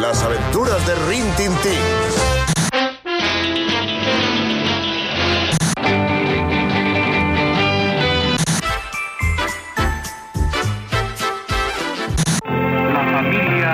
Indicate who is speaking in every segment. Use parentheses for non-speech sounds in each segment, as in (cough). Speaker 1: Las aventuras de Rin Tin Tin.
Speaker 2: La familia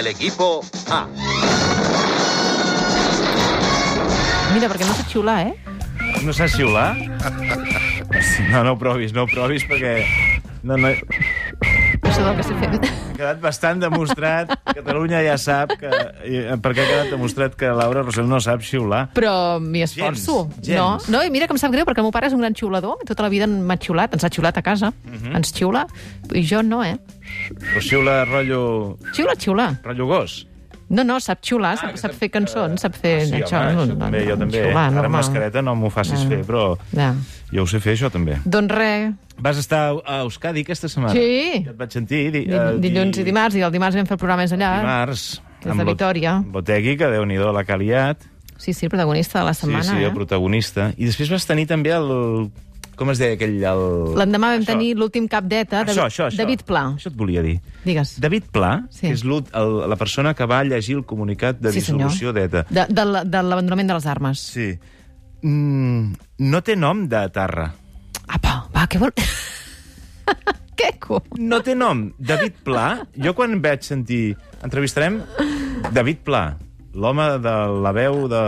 Speaker 3: El equipo A.
Speaker 4: Mira, perquè no sé xiular, eh?
Speaker 5: No saps xiular? No, no ho provis, no ho provis, perquè... No, no, he
Speaker 4: Això del que estic fent.
Speaker 5: quedat bastant demostrat. Catalunya ja sap que... eh, Perquè ha quedat demostrat que Laura Rossell no sap xiular.
Speaker 4: (laughs) Però m'hi esforço.
Speaker 5: Gens, gens.
Speaker 4: No? no, i mira que em sap greu, perquè el meu pare és un gran xiulador. i Tota la vida m'ha xiulat, ens ha xiulat a casa.
Speaker 5: Mhm.
Speaker 4: Ens xiula. I jo no, eh?
Speaker 5: Però xiula rotllo...
Speaker 4: Xiula, xiula.
Speaker 5: rotllo gos.
Speaker 4: No, no, sap xiular,
Speaker 5: Ah,
Speaker 4: sap,
Speaker 5: que
Speaker 4: sap
Speaker 5: sap-
Speaker 4: fer cançons, sap fer...
Speaker 5: Ah, sí, home, això també, jo també. Ara amb mascareta no m'ho facis
Speaker 4: No.
Speaker 5: fer, però
Speaker 4: Ah. Ja.
Speaker 5: jo ho sé fer, això, també.
Speaker 4: Doncs res,
Speaker 5: Vas estar a Euskadi aquesta setmana?
Speaker 4: Sí.
Speaker 5: Ja et vaig sentir
Speaker 4: di-
Speaker 5: dir... eh,
Speaker 4: dilluns
Speaker 5: dir-
Speaker 4: i dimarts, i el dimarts vam fer programes allà.
Speaker 5: Dimarts.
Speaker 4: Des de
Speaker 5: amb Bot-
Speaker 4: Vitoria.
Speaker 5: Botegui, que Déu-n'hi-do la que ha liat.
Speaker 4: Sí, sí, el protagonista de la setmana.
Speaker 5: sí, sí, el
Speaker 4: eh?
Speaker 5: protagonista. I després vas tenir també el... Com es deia aquell... El...
Speaker 4: L'endemà vam
Speaker 5: Això.
Speaker 4: tenir l'últim capdeta,
Speaker 5: Això, això, això.
Speaker 4: David Pla.
Speaker 5: Això et volia dir.
Speaker 4: Digues.
Speaker 5: David Pla,
Speaker 4: Sí.
Speaker 5: sí. que és l'ult- el, la persona que va llegir el comunicat de
Speaker 4: Sí, senyor.
Speaker 5: dissolució d'ETA.
Speaker 4: De, de, la- de l'abandonament de les armes.
Speaker 5: Sí. Mm, no té nom de Tarra.
Speaker 4: Apa, va, què vol... (laughs) què cu?
Speaker 5: No té nom. David Pla, jo quan vaig sentir... Entrevistarem David Pla, l'home de la veu de,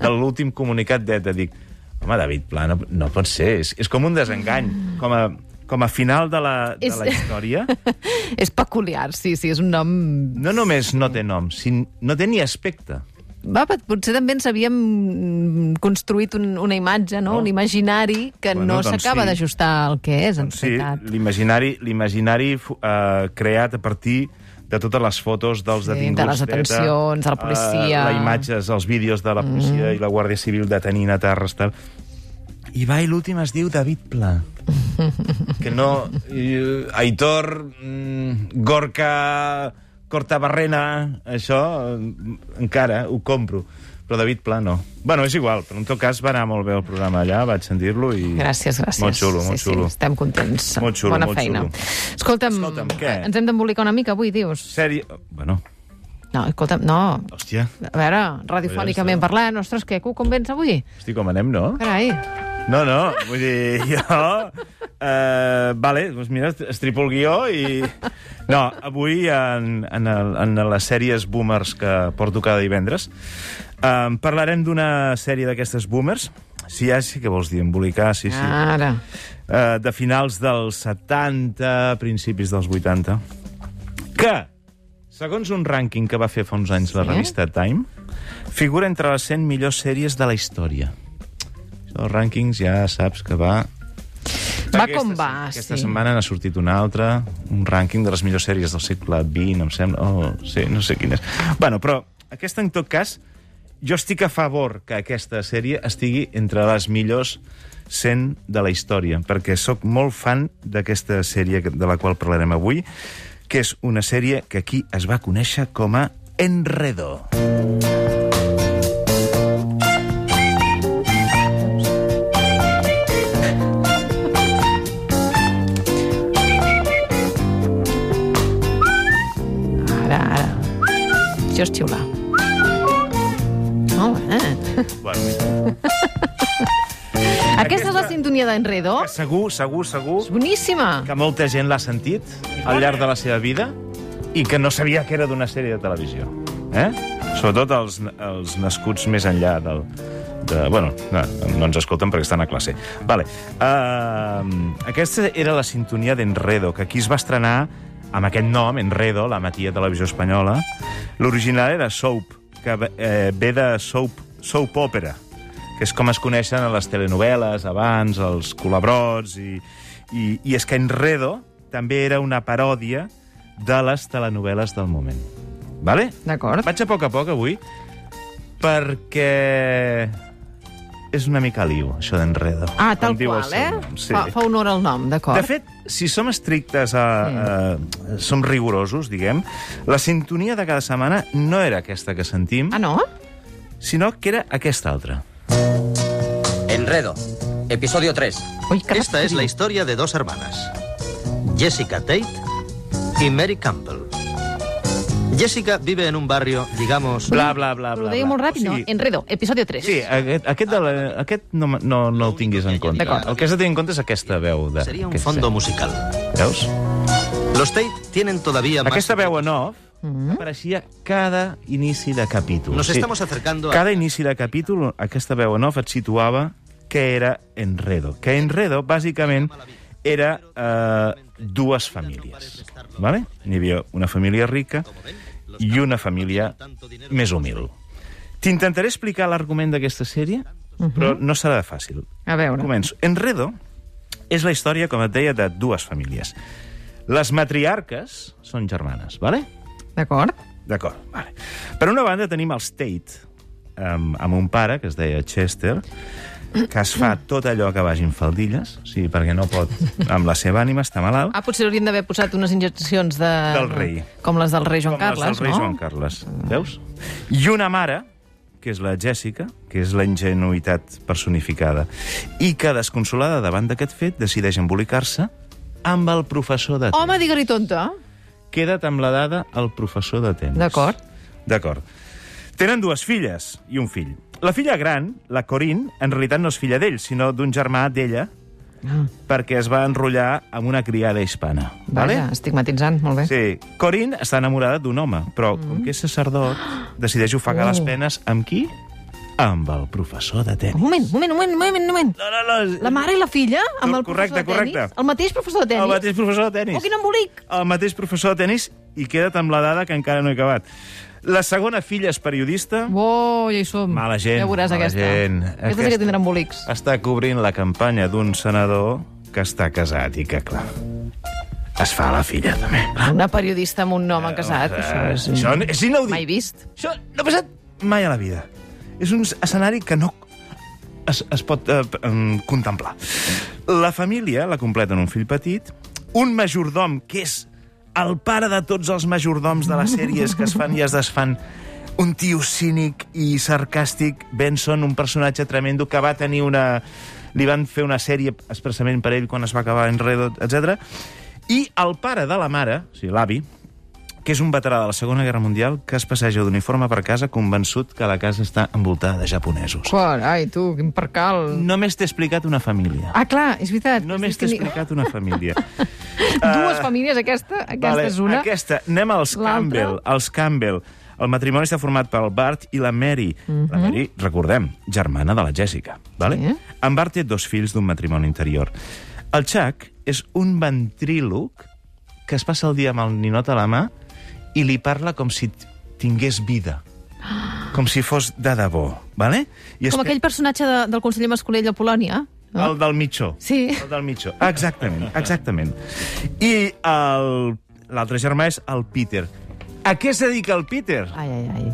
Speaker 5: de l'últim comunicat d'ETA. Dic, home, David Pla, no, no pot ser. És, és com un desengany. Com a, com a final de la, de
Speaker 4: És-
Speaker 5: la història.
Speaker 4: (laughs) és peculiar, sí, sí, és un nom...
Speaker 5: No només no té nom, sin, no té ni aspecte.
Speaker 4: Va, pot- potser també ens havíem mm, construït un, una imatge, no?
Speaker 5: No.
Speaker 4: un imaginari que
Speaker 5: Bueno,
Speaker 4: no
Speaker 5: doncs
Speaker 4: s'acaba
Speaker 5: sí.
Speaker 4: d'ajustar al que és, en
Speaker 5: Doncs sí,
Speaker 4: realitat.
Speaker 5: l'imaginari l'imaginari eh, creat a partir de totes les fotos dels
Speaker 4: Sí,
Speaker 5: detinguts.
Speaker 4: de les
Speaker 5: d'ETA,
Speaker 4: detencions, de la policia.
Speaker 5: Eh, les imatges, els vídeos de la policia mm. i la Guàrdia Civil detenint a Terres. Tal. I va, i l'últim es diu David Pla.
Speaker 4: (laughs)
Speaker 5: que no... Eh, Aitor, mm, Gorka, Cortabarrena, això eh, encara ho compro. Però David Pla no. Bueno, és igual, però en tot cas va anar molt bé el programa allà, vaig sentir-lo i...
Speaker 4: Gràcies, gràcies.
Speaker 5: Molt xulo, molt
Speaker 4: sí,
Speaker 5: xulo.
Speaker 4: Sí, estem contents.
Speaker 5: Molt xulo,
Speaker 4: Bona
Speaker 5: molt
Speaker 4: feina.
Speaker 5: xulo.
Speaker 4: Escolta'm,
Speaker 5: Escolta'm, què?
Speaker 4: ens hem d'embolicar una mica avui, dius?
Speaker 5: Sèrie... Eh, Bueno,
Speaker 4: No, escolta'm, no.
Speaker 5: hòstia,
Speaker 4: A veure, radiofònicament parlant, ostres, què, com vens avui?
Speaker 5: hosti, com anem, no?
Speaker 4: Carai,
Speaker 5: No, no, vull dir, jo... Eh, vale, doncs mira, estripo el guió i... No, avui en, en, el, en les sèries boomers que porto cada divendres eh, parlarem d'una sèrie d'aquestes boomers, si ja sí que vols dir embolicar, sí, sí, eh,
Speaker 4: ara.
Speaker 5: de finals dels 70, principis dels 80, que, segons un rànquing que va fer fa uns anys la
Speaker 4: Sí?
Speaker 5: revista Time, figura entre les 100 millors sèries de la història. Això, els rànquings ja saps que va...
Speaker 4: Va
Speaker 5: Doncs Aquesta
Speaker 4: com
Speaker 5: se-
Speaker 4: va,
Speaker 5: Aquesta
Speaker 4: sí.
Speaker 5: setmana n'ha sortit una altra, un rànquing de les millors sèries del segle XX, em sembla. Oh, sí, no sé quina és. Bueno, però aquesta, en tot cas, jo estic a favor que aquesta sèrie estigui entre les millors 100 de la història, perquè sóc molt fan d'aquesta sèrie que- de la qual parlarem avui, que és una sèrie que aquí es va conèixer com a Enredo.
Speaker 4: Ara, ara. Això és xiular. Molt bé.
Speaker 5: Bueno,
Speaker 4: Aquesta és la sintonia d'Enredo.
Speaker 5: que segur, segur, segur
Speaker 4: És boníssima.
Speaker 5: que molta gent l'ha sentit al llarg de la seva vida i que no sabia que era d'una sèrie de televisió. Eh? Sobretot els, els nascuts més enllà del... De, bueno, no, no ens escolten perquè estan a classe. Vale. Uh, aquesta era la sintonia d'Enredo, que aquí es va estrenar amb aquest nom, Enredo, la matia televisió espanyola. L'original era Soap, que ve- eh, ve de Soap, soap Opera, que és com es coneixen a les telenovel·les abans, els colabrots, i, i, i és que Enredo també era una paròdia de les telenovel·les del moment. Vale?
Speaker 4: D'acord.
Speaker 5: Vaig a poc a poc avui, perquè és una mica liu, això d'Enredo.
Speaker 4: Ah, tal
Speaker 5: com diu el
Speaker 4: qual,
Speaker 5: seu
Speaker 4: eh?
Speaker 5: nom, Sí.
Speaker 4: Fa, fa honor al nom,
Speaker 5: De
Speaker 4: d'acord.
Speaker 5: fet, si som estrictes, a, a, som rigorosos, diguem, la sintonia de cada setmana no era aquesta que sentim,
Speaker 4: Ah, no?
Speaker 5: sinó que era aquesta altra.
Speaker 6: Enredo, episodio 3.
Speaker 4: Ui, que
Speaker 3: Esta es la historia de dos hermanas. Jessica Tate y Mary Campbell. Jessica vive en un barrio, digamos...
Speaker 5: Bla, bla, bla,
Speaker 4: Ho
Speaker 5: bla.
Speaker 4: deia
Speaker 5: bla.
Speaker 4: molt ràpid, no?
Speaker 5: Sí,
Speaker 4: Enredo, episodio 3.
Speaker 5: sí aquest, aquest, de
Speaker 3: Ah,
Speaker 5: la, aquest no, me- no, no el tinguis en compte.
Speaker 4: D'acord.
Speaker 5: El que has de tenir en compte és aquesta veu. De,
Speaker 3: Sería un
Speaker 5: aquesta.
Speaker 3: fondo musical.
Speaker 5: Veus?
Speaker 3: Los Tate tienen todavía más...
Speaker 5: Aquesta veu en off apareixia cada inici de capítol.
Speaker 3: Mm-hmm. Nos estamos acercando a-
Speaker 5: Cada inici de capítol, aquesta veu en off et situava que era Enredo. Que Enredo, bàsicament, era eh, dues famílies. Vale? N'hi havia una família rica i una família més humil. T'intentaré explicar l'argument d'aquesta sèrie,
Speaker 3: Mm-hmm.
Speaker 5: però no serà fàcil.
Speaker 4: A veure.
Speaker 5: Començo. Enredo és la història, com et deia, de dues famílies. Les matriarques són germanes, vale?
Speaker 4: D'acord?
Speaker 5: D'acord, vale. Per una banda tenim els Tate, amb, amb un pare que es deia Chester, que es fa tot allò que vagin faldilles, o sigui, perquè no pot, amb la seva ànima, està malalt,
Speaker 4: Ah, potser haurien d'haver posat unes injeccions de...
Speaker 5: Del rei.
Speaker 4: eh, Com les del rei Joan
Speaker 5: com
Speaker 4: Carles,
Speaker 5: les del rei
Speaker 4: no? Mm.
Speaker 5: Joan Carles. Veus? I una mare, que és la Jessica, que és la ingenuïtat personificada, i que, desconsolada davant d'aquest fet, decideix embolicar-se amb el professor de
Speaker 4: Home, digue-li tonta.
Speaker 5: queda't amb la dada el professor de tenis.
Speaker 4: D'acord.
Speaker 5: D'acord. Tenen dues filles i un fill. La filla gran, la Corinne, en realitat no és filla d'ell, sinó d'un germà d'ella,
Speaker 4: Ah,
Speaker 5: perquè es va enrotllar amb una criada hispana.
Speaker 4: vale? Vaja, estigmatitzant, molt bé.
Speaker 5: Sí. Corinne està enamorada d'un home, però mm. com que és sacerdot, decideix ofegar
Speaker 4: Oh.
Speaker 5: les penes amb qui? Amb el professor de
Speaker 4: Un
Speaker 5: tenis.
Speaker 4: moment, un moment, un moment, un moment, un moment.
Speaker 5: No, no, no.
Speaker 4: Oh. La mare i la filla amb el
Speaker 5: Correcte,
Speaker 4: professor de tenis?
Speaker 5: correcte.
Speaker 4: El mateix professor de tenis?
Speaker 5: El mateix professor de tenis.
Speaker 4: Oh, quin embolic!
Speaker 5: el mateix professor de tennis i queda't amb la dada que encara no he acabat. La segona filla és periodista.
Speaker 4: Oh, ja hi som.
Speaker 5: Mala gent,
Speaker 4: Ja veuràs
Speaker 5: mala
Speaker 4: aquesta.
Speaker 5: gent.
Speaker 4: Aquesta, sí
Speaker 5: Aquesta.
Speaker 4: que tindrà
Speaker 5: (laughs)
Speaker 4: embolics.
Speaker 5: Està cobrint la campanya d'un senador que està casat i que, clar, es fa la filla, també.
Speaker 4: Una periodista amb un nom casat.
Speaker 5: Eh,
Speaker 4: Això és,
Speaker 5: això és inaudit.
Speaker 4: Mai vist.
Speaker 5: Això no ha passat mai a la vida. És un escenari que no es, es pot eh, p- em, contemplar. La família la completen un fill petit, un majordom que és el pare de tots els majordoms de les sèries que es fan i es desfan, un tio cínic i sarcàstic, Benson, un personatge tremendo que va tenir una... Li van fer una sèrie expressament per ell quan es va acabar Enredo, etc. I el pare de la mare, o sigui, l'avi, que és un veterà de la Segona Guerra Mundial que es passeja d'uniforme per casa convençut que la casa està envoltada de japonesos.
Speaker 4: Carai, tu, quin percal.
Speaker 5: Només t'he explicat una família.
Speaker 4: Ah, clar, és veritat.
Speaker 5: Només
Speaker 4: Has
Speaker 5: t'he
Speaker 4: dit que ni-
Speaker 5: explicat una família.
Speaker 4: (laughs) Dues famílies, aquesta, aquesta
Speaker 5: Vale,
Speaker 4: és una.
Speaker 5: Aquesta. Anem als
Speaker 4: L'altra?
Speaker 5: Campbell. Els Campbell. El matrimoni està format pel Bart i la Mary. La Mary, recordem, germana de la Jessica. Vale?
Speaker 4: Mhm. Sí.
Speaker 5: En Bart té dos fills d'un matrimoni interior. El Chuck és un ventríloc que es passa el dia amb el ninot a la mà i li parla com si t- tingués
Speaker 4: (gasps)
Speaker 5: vida. Com si fos de debò, vale? I
Speaker 4: Com aquell personatge de, del conseller Mascolell a Polònia. No?
Speaker 5: el del mitjó.
Speaker 4: Sí.
Speaker 5: El del mitjó. Exactament, exactament. I el- l'altre germà és el Peter. A què es dedica el Peter?
Speaker 4: Ai, ai, ai.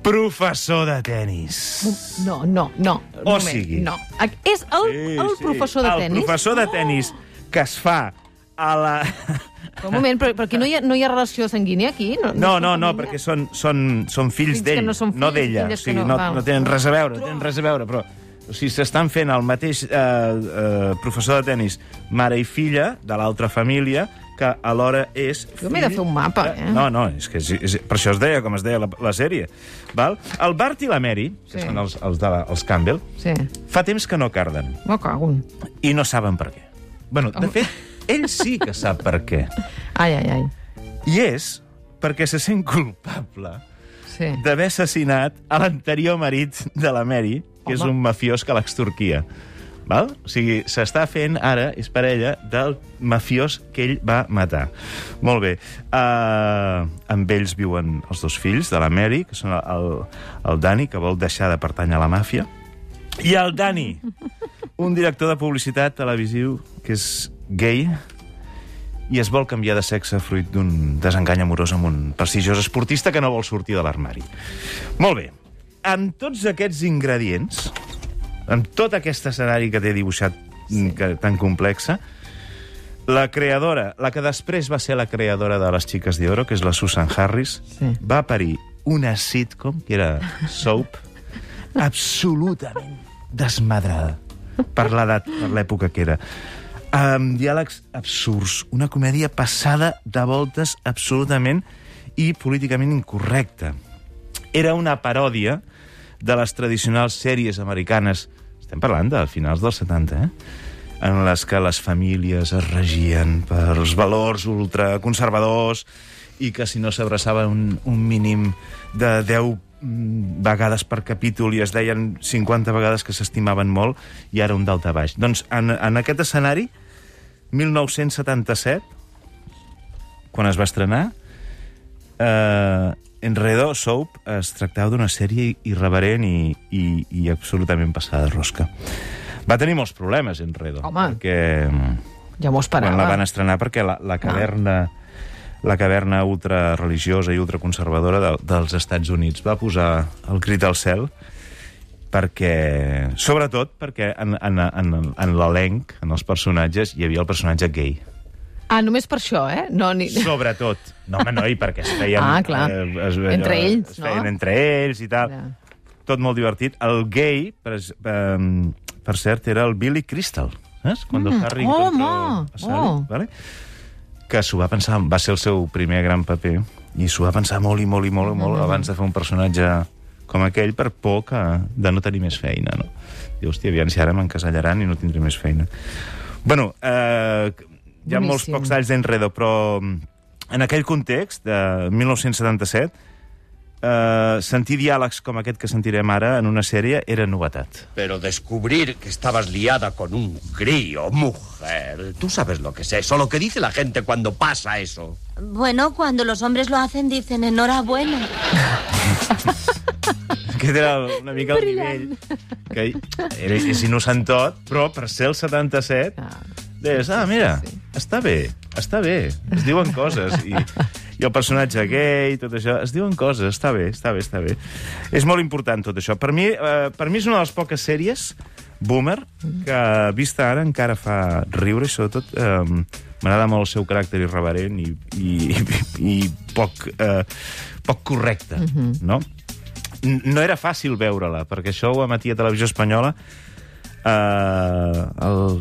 Speaker 5: Professor de tennis.
Speaker 4: No, no, no. Un
Speaker 5: O
Speaker 4: moment,
Speaker 5: sigui.
Speaker 4: No. A- És el, el professor de Oh.
Speaker 5: El
Speaker 4: tenis.
Speaker 5: professor de tenis que es fa a la...
Speaker 4: Però Un moment, però, però aquí no hi, ha, no hi ha relació sanguínia, aquí?
Speaker 5: No, no, no,
Speaker 4: sanguínia?
Speaker 5: perquè són, són, són fills
Speaker 4: Fills que
Speaker 5: d'ell,
Speaker 4: no són fills, filles
Speaker 5: d'ella. O
Speaker 4: que
Speaker 5: sigui,
Speaker 4: no,
Speaker 5: no,
Speaker 4: val.
Speaker 5: no tenen res a veure, tenen res a veure, però... O sigui, s'estan fent el mateix eh, eh, professor de tennis, mare i filla, de l'altra família, que alhora és...
Speaker 4: Jo m'he de
Speaker 5: fill
Speaker 4: fer un mapa,
Speaker 5: de-
Speaker 4: eh?
Speaker 5: No, no, és que és, és, per això es deia, com es deia la, la sèrie. Val? El Bart i la Mary, que
Speaker 4: Sí.
Speaker 5: són els, els, de la, els Campbell,
Speaker 4: Sí,
Speaker 5: fa temps que no carden
Speaker 4: me cago. en-
Speaker 5: i no saben per què. Bueno, de fet, ell sí que sap per què.
Speaker 4: Ai, ai, ai.
Speaker 5: I és perquè se sent culpable
Speaker 4: Sí.
Speaker 5: d'haver assassinat a l'anterior marit de la Mary, que és
Speaker 4: Home.
Speaker 5: un mafiós que l'extorquia. Val? O sigui, s'està fent ara, és parella, del mafiós que ell va matar. Molt bé. Uh, amb ells viuen els dos fills de la Mary, que són el, el Dani, que vol deixar de pertànyer a la màfia, i el Dani, un director de publicitat televisiu que és gay i es vol canviar de sexe fruit d'un desengany amorós amb un prestigiós esportista que no vol sortir de l'armari. Molt bé. Amb tots aquests ingredients, amb tot aquest escenari que t'he dibuixat sí. que, tan complexa, la creadora, la que després va ser la creadora de Les xiques d'Oro, que és la Susan Harris,
Speaker 4: Sí.
Speaker 5: va parir una sitcom, que era Soap, absolutament desmadrada per l'edat, per l'època que era. amb diàlegs absurds, una comèdia passada de voltes absolutament i políticament incorrecta. Era una paròdia de les tradicionals sèries americanes, estem parlant de finals dels 70, eh? en les que les famílies es regien pels valors ultraconservadors i que si no s'abraçaven un, un mínim de 10 mm, vegades per capítol i es deien 50 vegades que s'estimaven molt i ara un dalt a baix. Doncs en, en aquest escenari, 1977, quan es va estrenar, eh, Enredo Soap es tractava d'una sèrie irreverent i, i, i absolutament passada de rosca. Va tenir molts problemes, Enredo.
Speaker 4: Home.
Speaker 5: Perquè
Speaker 4: Ja m'ho esperava. Ah.
Speaker 5: quan la van estrenar, perquè la, la caverna la caverna ultrareligiosa i ultraconservadora de, dels Estats Units va posar el crit al cel perquè, sobretot perquè en, en, en, en l'elenc, en els personatges, hi havia el personatge gay.
Speaker 4: Ah, només per això, eh? No, ni...
Speaker 5: Sobretot. No, home, no, i perquè es feien... eh,
Speaker 4: Ah, clar.
Speaker 5: es,
Speaker 4: Entre ells,
Speaker 5: es feien
Speaker 4: no?
Speaker 5: entre ells i tal.
Speaker 4: (laughs) Ja.
Speaker 5: Tot molt divertit. El gay, per, es- eh, per cert, era el Billy Crystal. Saps? Quan mm. Harry
Speaker 4: home,
Speaker 5: encontra a Sally,
Speaker 4: oh.
Speaker 5: vale? que s'ho va pensar, va ser el seu primer gran paper, i s'ho va pensar molt i molt i molt, i molt
Speaker 4: Mm-hmm.
Speaker 5: abans de fer un personatge com aquell per por que, de no tenir més feina, no? Diu, hòstia, aviam si ara m'encasellaran i no tindré més feina. Bueno, eh, hi ha
Speaker 4: Boníssim.
Speaker 5: molts pocs talls d'enredo, però mm, en aquell context de 1977, eh, sentir diàlegs com aquest que sentirem ara en una sèrie era novetat. (laughs)
Speaker 6: Pero descubrir que estabas liada con un grillo, mujer. Tú sabes lo que es eso, lo que dice la gente cuando pasa eso.
Speaker 7: Bueno, cuando los hombres lo hacen dicen enhorabuena.
Speaker 5: Aquest era una mica el nivell. Que era, és innocent tot, però per ser el 77...
Speaker 4: Ah.
Speaker 5: Deies, ah, mira,
Speaker 4: sí.
Speaker 5: està bé, està bé, es diuen coses. I, i el personatge gay, tot això, es diuen coses, està bé, està bé, està bé. És molt important tot això. Per mi, eh, per mi és una de les poques sèries, Boomer, que vista ara encara fa riure i sobretot eh, m'agrada molt el seu caràcter irreverent i, i, i, i poc, eh, poc correcte,
Speaker 4: Mhm.
Speaker 5: no? no era fàcil veure-la, perquè això ho emetia Televisió Espanyola eh, el,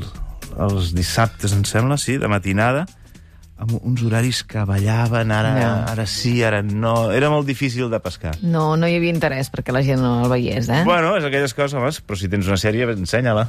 Speaker 5: els dissabtes, em sembla, sí, de matinada, amb uns horaris que ballaven, ara,
Speaker 4: Ja.
Speaker 5: ara sí, ara no... Era molt difícil de pescar.
Speaker 4: No, no hi havia interès perquè la gent no el veiés, eh?
Speaker 5: Bueno, és aquelles coses, home, però si tens una sèrie, ensenya-la.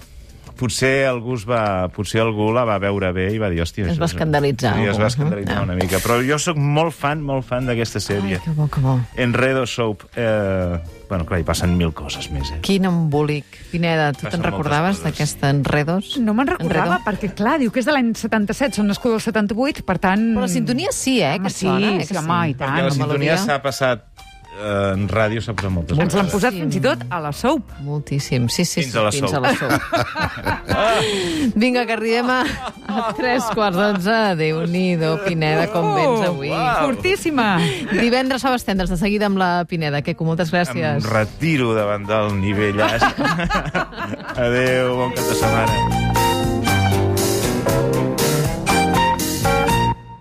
Speaker 5: Potser algú, es va, potser algú la va veure bé i va dir, hòstia...
Speaker 4: Es
Speaker 5: això
Speaker 4: va
Speaker 5: és-
Speaker 4: escandalitzar
Speaker 5: Sí, es
Speaker 4: algú, eh?
Speaker 5: va escandalitzar
Speaker 4: no?
Speaker 5: una mica. Però jo sóc molt fan, molt fan d'aquesta
Speaker 4: Ai,
Speaker 5: sèrie.
Speaker 4: que bo, que bo.
Speaker 5: Enredo Soap. Eh, bueno, clar, hi passen mil coses més, eh?
Speaker 4: Quin embolic. Pineda, tu
Speaker 5: Passen
Speaker 4: te'n
Speaker 5: moltes
Speaker 4: recordaves
Speaker 5: coses.
Speaker 4: d'aquesta Enredos?
Speaker 8: No me'n recordava,
Speaker 4: Enredo?
Speaker 8: perquè clar, diu que és de l'any 77, són nascut del 78, per tant...
Speaker 4: Però la sintonia sí, eh, que
Speaker 8: home,
Speaker 4: et
Speaker 8: sí,
Speaker 4: sona, eh, que
Speaker 8: sí,
Speaker 4: sí.
Speaker 8: home, i tant.
Speaker 5: Perquè la
Speaker 4: la
Speaker 5: sintonia
Speaker 4: melodia.
Speaker 5: s'ha passat... Eh, en ràdio s'ha posat moltes
Speaker 8: Ens l'han
Speaker 5: vegades.
Speaker 8: posat
Speaker 4: Sí.
Speaker 8: fins i tot a la soap.
Speaker 4: Moltíssim. Sí, sí,
Speaker 5: Fins
Speaker 4: sí,
Speaker 5: a la
Speaker 4: fins
Speaker 5: sou.
Speaker 4: a
Speaker 5: Ah.
Speaker 4: la sou. Vinga, que arribem a, a tres quarts d'onze. Déu-n'hi-do, Pineda, com
Speaker 5: Oh,
Speaker 4: vens avui.
Speaker 8: Oh, Fortíssima!
Speaker 4: Divendres a les tendes, de seguida amb la Pineda. Que moltes gràcies.
Speaker 5: (laughs) Em retiro davant del nivell. Adéu, bon cap de setmana.